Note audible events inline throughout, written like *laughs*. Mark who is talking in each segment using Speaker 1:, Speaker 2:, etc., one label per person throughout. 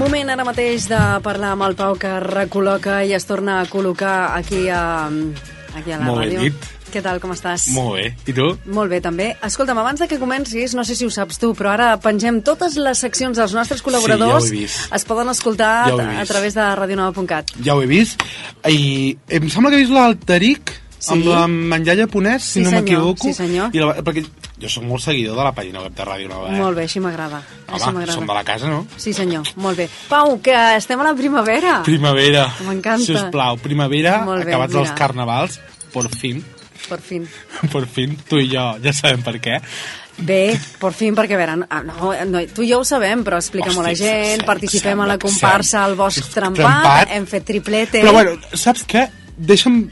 Speaker 1: Moment ara mateix de parlar amb el Pau que es recol·loca i es torna a col·locar aquí a, aquí a la
Speaker 2: Molt ben
Speaker 1: ràdio.
Speaker 2: dit.
Speaker 1: Què tal, com estàs?
Speaker 2: Molt bé. I tu?
Speaker 1: Molt bé, també. Escolta'm, abans de que comencis, no sé si ho saps tu, però ara pengem totes les seccions dels nostres col·laboradors.
Speaker 2: ho he vist.
Speaker 1: Es poden escoltar
Speaker 2: Ja ho he
Speaker 1: a
Speaker 2: vist.
Speaker 1: través de radionova.cat.
Speaker 2: Ja ho he vist. I em sembla que he vist l'Alteric
Speaker 1: Sí.
Speaker 2: amb la menjar japonès, si
Speaker 1: Sí,
Speaker 2: no
Speaker 1: senyor,
Speaker 2: m'equivoco.
Speaker 1: sí, senyor.
Speaker 2: I la, perquè jo sóc molt seguidor de la pàgina web de Ràdio Nova. Eh?
Speaker 1: Molt bé, així m'agrada. Així
Speaker 2: Home, som de
Speaker 1: m'agrada.
Speaker 2: la casa, no?
Speaker 1: Sí, senyor, molt bé. Pau, que estem a la primavera.
Speaker 2: Primavera.
Speaker 1: Ah, M'encanta.
Speaker 2: Si us plau, primavera,
Speaker 1: Molt bé,
Speaker 2: acabats
Speaker 1: mira.
Speaker 2: els carnavals, por fin, *laughs*
Speaker 1: Per fin.
Speaker 2: por fin, tu i jo ja sabem per què.
Speaker 1: Bé, per fin, perquè a veure, no, no, no, tu i jo ho sabem, però explica-m'ho a la
Speaker 2: Hosti,
Speaker 1: gent,
Speaker 2: sem-
Speaker 1: participem a la
Speaker 2: sembla que
Speaker 1: comparsa
Speaker 2: sem-
Speaker 1: al bosc trempat,
Speaker 2: trempat.
Speaker 1: hem fet triplete...
Speaker 2: Però bueno, saps què? Deixa'm,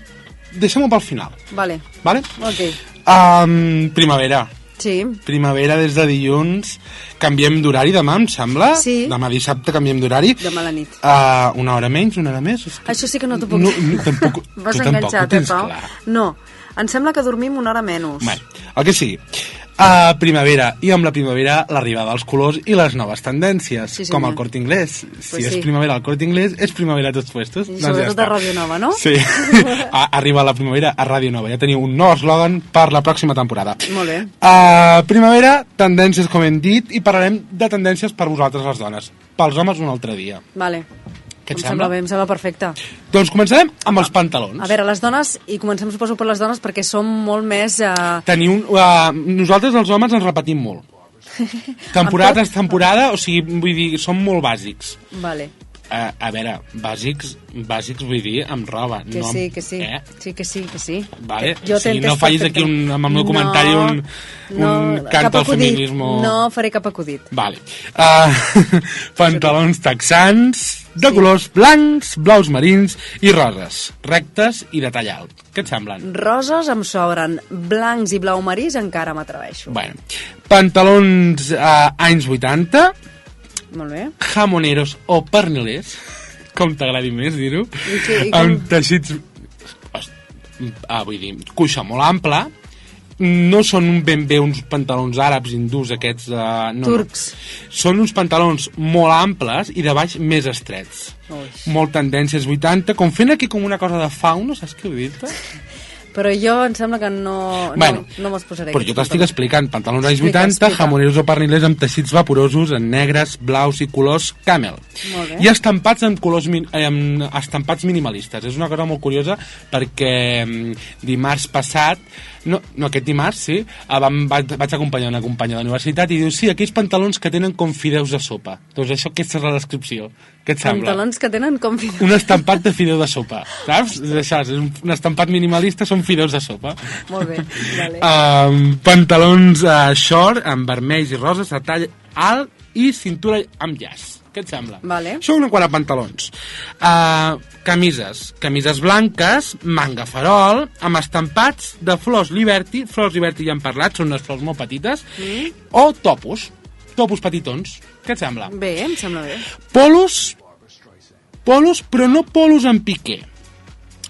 Speaker 2: deixa'm-ho pel final,
Speaker 1: Vale,
Speaker 2: vale?
Speaker 1: ok,
Speaker 2: Um, primavera.
Speaker 1: sí,
Speaker 2: Primavera des de dilluns. Canviem d'horari demà, em sembla.
Speaker 1: Sí.
Speaker 2: Demà dissabte canviem d'horari.
Speaker 1: demà a la nit.
Speaker 2: Uh, una hora menys, una hora més? És que-
Speaker 1: Això sí que no t'ho puc
Speaker 2: no,
Speaker 1: dir. *laughs*
Speaker 2: no, tampoc,
Speaker 1: M'has
Speaker 2: tu tampoc ho
Speaker 1: enganxat, eh,
Speaker 2: tens
Speaker 1: Pau?
Speaker 2: clar.
Speaker 1: No, em sembla que dormim una hora menys.
Speaker 2: Bé, el que sigui. Uh, primavera, i amb la primavera l'arribada dels colors i les noves tendències,
Speaker 1: Sí, senyor.
Speaker 2: com el Corte Inglés. Si
Speaker 1: Pues
Speaker 2: és
Speaker 1: sí.
Speaker 2: primavera al Corte Inglés, és primavera a tots puestos.
Speaker 1: I
Speaker 2: Doncs
Speaker 1: sobretot
Speaker 2: està.
Speaker 1: a Ràdio Nova, no? *laughs*
Speaker 2: Sí, A- arriba la primavera a Ràdio Nova. Ja teniu un nou eslògan per la pròxima temporada.
Speaker 1: Molt bé.
Speaker 2: Uh, primavera, tendències, com hem dit, i parlarem de tendències per vosaltres, les dones. Pels homes, un altre dia.
Speaker 1: Vale.
Speaker 2: Què
Speaker 1: em
Speaker 2: et sembla?
Speaker 1: sembla bé, em sembla perfecte.
Speaker 2: Doncs començarem amb els pantalons.
Speaker 1: A veure, les dones, i comencem suposo per les dones perquè som molt més... Eh,
Speaker 2: Tenir un, uh, nosaltres els homes ens repetim
Speaker 1: *laughs*
Speaker 2: molt. Temporada
Speaker 1: Amb tot?
Speaker 2: tras temporada, o sigui, vull dir, som molt bàsics.
Speaker 1: vale,
Speaker 2: Uh, a veure, bàsics, bàsics vull dir amb roba.
Speaker 1: que
Speaker 2: no, amb-
Speaker 1: sí, que sí.
Speaker 2: Eh?
Speaker 1: Sí, que sí, que sí.
Speaker 2: Vale.
Speaker 1: Jo
Speaker 2: o sigui,
Speaker 1: t'he
Speaker 2: no
Speaker 1: entès
Speaker 2: fallis aquí
Speaker 1: perfectament.
Speaker 2: un, amb el meu
Speaker 1: No,
Speaker 2: comentari un, un
Speaker 1: no, cap
Speaker 2: canto al
Speaker 1: acudit.
Speaker 2: feminisme.
Speaker 1: No faré cap acudit.
Speaker 2: Vale. Uh, *laughs* pantalons texans de colors blancs, blaus marins i roses, rectes i de tall alt. Què et semblen?
Speaker 1: Mm. Roses em sobren, blancs i blau marís encara m'atreveixo.
Speaker 2: Bueno, pantalons eh, anys 80,
Speaker 1: Molt bé.
Speaker 2: jamoneros o pernilers, com t'agradi més dir-ho,
Speaker 1: I què- i com-
Speaker 2: amb teixits... Host- Ah, vull dir, cuixa molt ampla, no són ben bé uns pantalons àrabs, hindús, aquests... Eh, no,
Speaker 1: Turcs.
Speaker 2: No. Són uns pantalons molt amples i de baix més estrets.
Speaker 1: Ui.
Speaker 2: Molt tendències 80, com fent aquí com una cosa de fauna, saps què vull dir-te?
Speaker 1: Però jo em sembla que no,
Speaker 2: Bueno,
Speaker 1: no, no me'ls posaré.
Speaker 2: Però jo
Speaker 1: aquests
Speaker 2: t'estic explicant, pantalons anys
Speaker 1: Explica,
Speaker 2: 80,
Speaker 1: explica.
Speaker 2: jamoneros o pernilers amb teixits vaporosos en negres, blaus i colors camel.
Speaker 1: Molt bé.
Speaker 2: I estampats amb colors min eh, amb estampats minimalistes. És una cosa molt curiosa perquè mm, dimarts passat, no, no aquest dimarts, sí, eh, vam, vaig, vaig acompanyar una companya de la universitat i diu, sí, aquells pantalons que tenen com fideus de sopa. Doncs això, aquesta és la descripció. Què et sembla?
Speaker 1: Pantalons que tenen com...
Speaker 2: Un estampat de fideu de sopa, saps? És això, és un, un estampat minimalista, són fideus de sopa.
Speaker 1: Molt bé, vale.
Speaker 2: Um, pantalons uh, short amb vermells i roses a tall alt i cintura amb llaç. Què et sembla?
Speaker 1: Vale.
Speaker 2: Això una quant a pantalons. Uh, camises. Camises blanques, manga farol, amb estampats de flors Liberty. Flors Liberty ja hem parlat, són unes flors molt petites. Mm. O topos. Topos petitons. Què et sembla?
Speaker 1: Bé, em sembla bé.
Speaker 2: Polos, polos, però no polos en piqué,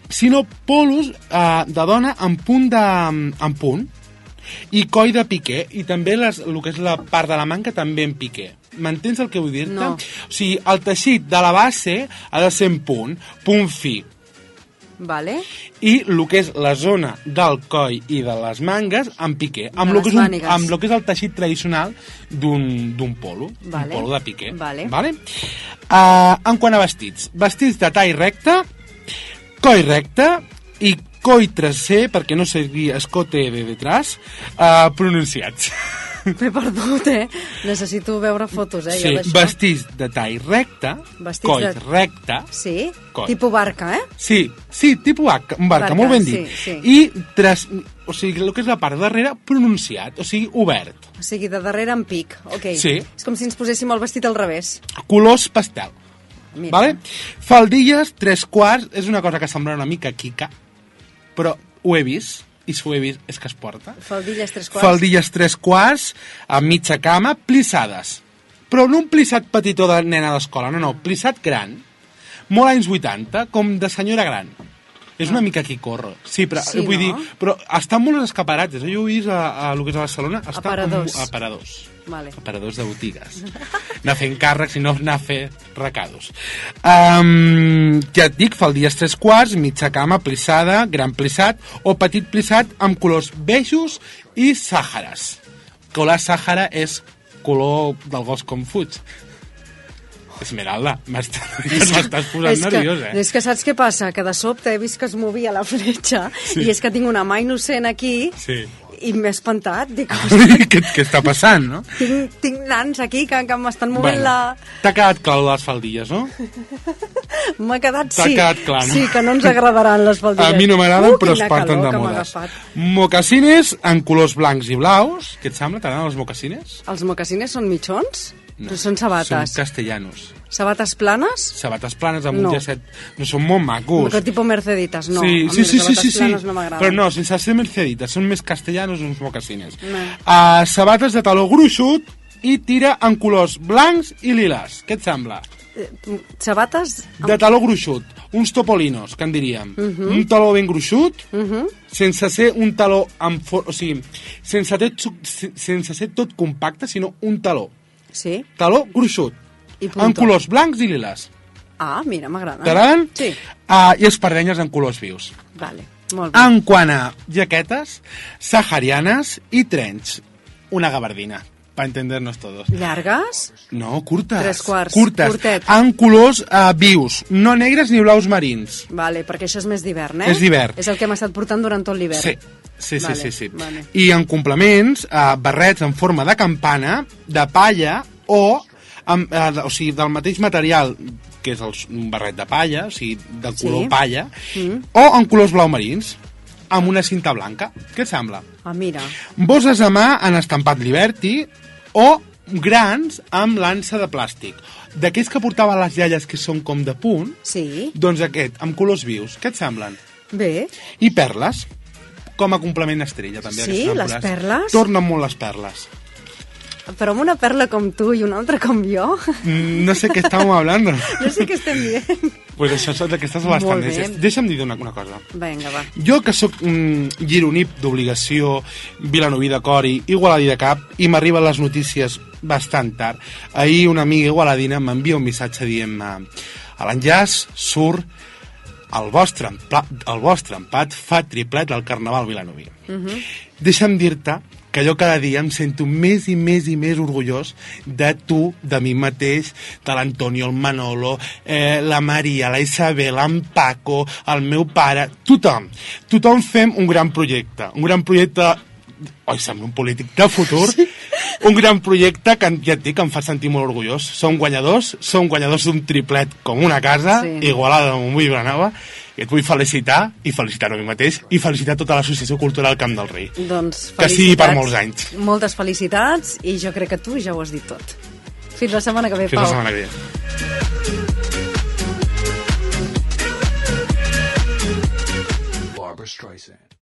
Speaker 2: sinó polos eh, de dona en punt de, en punt i coll de piqué i també les, el que és la part de la manca també en piqué. M'entens el que vull dir-te?
Speaker 1: No.
Speaker 2: O sigui, el teixit de la base ha de ser en punt, punt fi.
Speaker 1: Vale.
Speaker 2: I el que és la zona del coll i de les mangues en piqué. Amb
Speaker 1: De
Speaker 2: lo que,
Speaker 1: les
Speaker 2: és un,
Speaker 1: mànigues.
Speaker 2: amb lo que és el teixit tradicional d'un d'un polo.
Speaker 1: Vale.
Speaker 2: Un polo de piqué.
Speaker 1: Vale.
Speaker 2: vale? Uh, en quant a vestits. Vestits de tall recte, coll recte i coll trasé, perquè no seria escote de detrás, uh, pronunciats.
Speaker 1: M'he perdut, eh? Necessito veure fotos, eh?
Speaker 2: sí,
Speaker 1: jo d'això.
Speaker 2: vestits de tall recte,
Speaker 1: Vestits
Speaker 2: coll
Speaker 1: de-
Speaker 2: recte,
Speaker 1: Sí?
Speaker 2: Coi.
Speaker 1: Tipo barca, eh?
Speaker 2: Sí, sí, tipus barca, barca,
Speaker 1: Barca,
Speaker 2: molt ben
Speaker 1: sí,
Speaker 2: dit.
Speaker 1: sí.
Speaker 2: I tras, o sigui, el que és la part de darrere, pronunciat, o sigui, obert.
Speaker 1: O sigui, de darrere en pic. Ok.
Speaker 2: Sí.
Speaker 1: És com si ens poséssim el vestit al revés.
Speaker 2: Colors pastel.
Speaker 1: Mira.
Speaker 2: Vale? Faldilles, tres quarts, és una cosa que sembla una mica quica, però ho he vist, i si ho he vist és que es porta.
Speaker 1: Faldilles tres quarts.
Speaker 2: Faldilles tres quarts, a mitja cama, plissades. Però no un plissat petitó de nena d'escola, no, no, plissat gran, molt anys 80, com de senyora gran. És una mica qui corre. Sí, però,
Speaker 1: Ah. Sí,
Speaker 2: vull
Speaker 1: no?
Speaker 2: dir, però estan molt als escaparats. eh? Jo ho he vist a, a, lo que és a Barcelona. Està com-
Speaker 1: Aparadors.
Speaker 2: A paradors.
Speaker 1: Vale.
Speaker 2: Aparadors de botigues. anar fent càrrecs i no anar a fer recados. Um, ja et dic, fa el dia tres quarts, mitja cama, plissada, gran plissat o petit plissat amb colors bejos i sàhares. Color sàhara és color del gos com fuig. Esmeralda, *laughs* m'estàs m'estàs posant
Speaker 1: és
Speaker 2: nerviós,
Speaker 1: que,
Speaker 2: eh?
Speaker 1: És que saps què passa? Que de sobte he vist que es movia la fletxa sí. i és que tinc una mà innocent aquí *laughs*
Speaker 2: Sí.
Speaker 1: i m'he espantat. Dic,
Speaker 2: *laughs* què, què està passant, no?
Speaker 1: tinc, tinc nans aquí que, que m'estan movent la...
Speaker 2: T'ha quedat clar les faldilles, no?
Speaker 1: M'ha quedat,
Speaker 2: T'ha
Speaker 1: sí.
Speaker 2: quedat clar, no?
Speaker 1: Sí, que no ens agradaran les faldilles.
Speaker 2: A mi no m'agraden, però es
Speaker 1: Uh, quina
Speaker 2: parten
Speaker 1: calor
Speaker 2: de
Speaker 1: que m'ha
Speaker 2: modes.
Speaker 1: agafat.
Speaker 2: Mocassines en colors blancs i blaus. Què et sembla? T'agraden els mocassines?
Speaker 1: Els mocasines són mitjons? No, són sabates.
Speaker 2: Són castellanos.
Speaker 1: Sabates planes?
Speaker 2: Sabates planes amb
Speaker 1: No.
Speaker 2: un llacet. No són molt macos.
Speaker 1: Que tipo Merceditas, no.
Speaker 2: sí,
Speaker 1: a
Speaker 2: sí,
Speaker 1: mi
Speaker 2: sí,
Speaker 1: les
Speaker 2: sí, sí,
Speaker 1: sabates
Speaker 2: sí.
Speaker 1: planes no m'agraden.
Speaker 2: però no, sense ser merceditas, són més castellanos uns mocassines.
Speaker 1: No.
Speaker 2: Uh, sabates de taló gruixut i tira en colors blancs i liles. Què et sembla?
Speaker 1: Eh, Sabates
Speaker 2: De taló gruixut, uns topolinos, que en diríem.
Speaker 1: Mhm.
Speaker 2: Un taló ben gruixut, sense ser un taló amb... For... O sigui, sense, tot, su- se- sense ser tot compacte, sinó un taló.
Speaker 1: Sí.
Speaker 2: Taló gruixut,
Speaker 1: I
Speaker 2: en
Speaker 1: punto.
Speaker 2: colors blancs i liles.
Speaker 1: Ah, mira, m'agrada.
Speaker 2: T'agraden?
Speaker 1: Sí.
Speaker 2: Ah, I espardenyes en colors vius.
Speaker 1: Vale, molt bé.
Speaker 2: En quant a jaquetes, saharianes i trench. Una gabardina, per entendernos todos.
Speaker 1: Llargues?
Speaker 2: No, curtes.
Speaker 1: Tres quarts,
Speaker 2: Curtes.
Speaker 1: curtet.
Speaker 2: En colors eh, vius, no negres ni blaus marins.
Speaker 1: Vale, perquè això és més d'hivern, eh?
Speaker 2: És d'hivern.
Speaker 1: És el que hem estat portant durant tot l'hivern.
Speaker 2: Sí, sí, sí,
Speaker 1: Vale,
Speaker 2: sí, sí.
Speaker 1: vale.
Speaker 2: I en complements, eh, barrets en forma de campana, de palla o, amb, eh, de- o sigui, del mateix material que és el, s- un barret de palla, o sigui, de
Speaker 1: Sí. Mm.
Speaker 2: color palla, o en colors blau marins, amb una cinta blanca. Què et sembla?
Speaker 1: Ah, mira.
Speaker 2: Bosses a mà en estampat Liberty o grans amb lança de plàstic. D'aquells que portaven les iaies que són com de punt,
Speaker 1: Sí.
Speaker 2: doncs aquest, amb colors vius. Què et semblen?
Speaker 1: Bé,
Speaker 2: I perles, com a complement estrella, també.
Speaker 1: Sí,
Speaker 2: aquestes
Speaker 1: les
Speaker 2: temporades.
Speaker 1: perles?
Speaker 2: Tornen molt les perles.
Speaker 1: però amb una perla com tu i una altra com jo, *laughs*
Speaker 2: Mm, No sé què estàvem hablando.
Speaker 1: no sé què estem dient.
Speaker 2: *laughs* pues això són d'aquestes les
Speaker 1: Molt
Speaker 2: tendències.
Speaker 1: bé.
Speaker 2: Deixa'm dir una, una cosa.
Speaker 1: Vinga, va.
Speaker 2: Jo, que sóc mm, gironip d'obligació, vilanoví de cori, igualadí de cap, i m'arriben les notícies bastant tard. Ahir una amiga igualadina m'envia un missatge dient-me a l'enllaç surt el vostre, empla, el vostre empat fa triplet al Carnaval Vilanoví. Deixa'm dir-te que jo cada dia em sento més i més i més orgullós de tu, de mi mateix, de l'Antonio, el Manolo, eh, la Maria, la Isabel, en Paco, el meu pare, tothom. Tothom fem un gran projecte, un gran projecte Oi, sembla un polític de futur. Sí. Un gran projecte que, ja et dic, que em fa sentir molt orgullós. Som guanyadors, som guanyadors d'un triplet com una casa,
Speaker 1: Sí.
Speaker 2: sí. Igualada de Montbui i Vilanova, i et vull felicitar, i felicitar-ho a mi mateix, i felicitar tota l'Associació Cultural Camp del Rei.
Speaker 1: Doncs
Speaker 2: Que sigui per
Speaker 1: felicitats.
Speaker 2: molts anys.
Speaker 1: Moltes felicitats i jo crec que tu ja ho has dit tot. Fins la setmana que ve,
Speaker 2: Fins
Speaker 1: Pau.
Speaker 2: la setmana que ve.
Speaker 3: Barbara Streisand.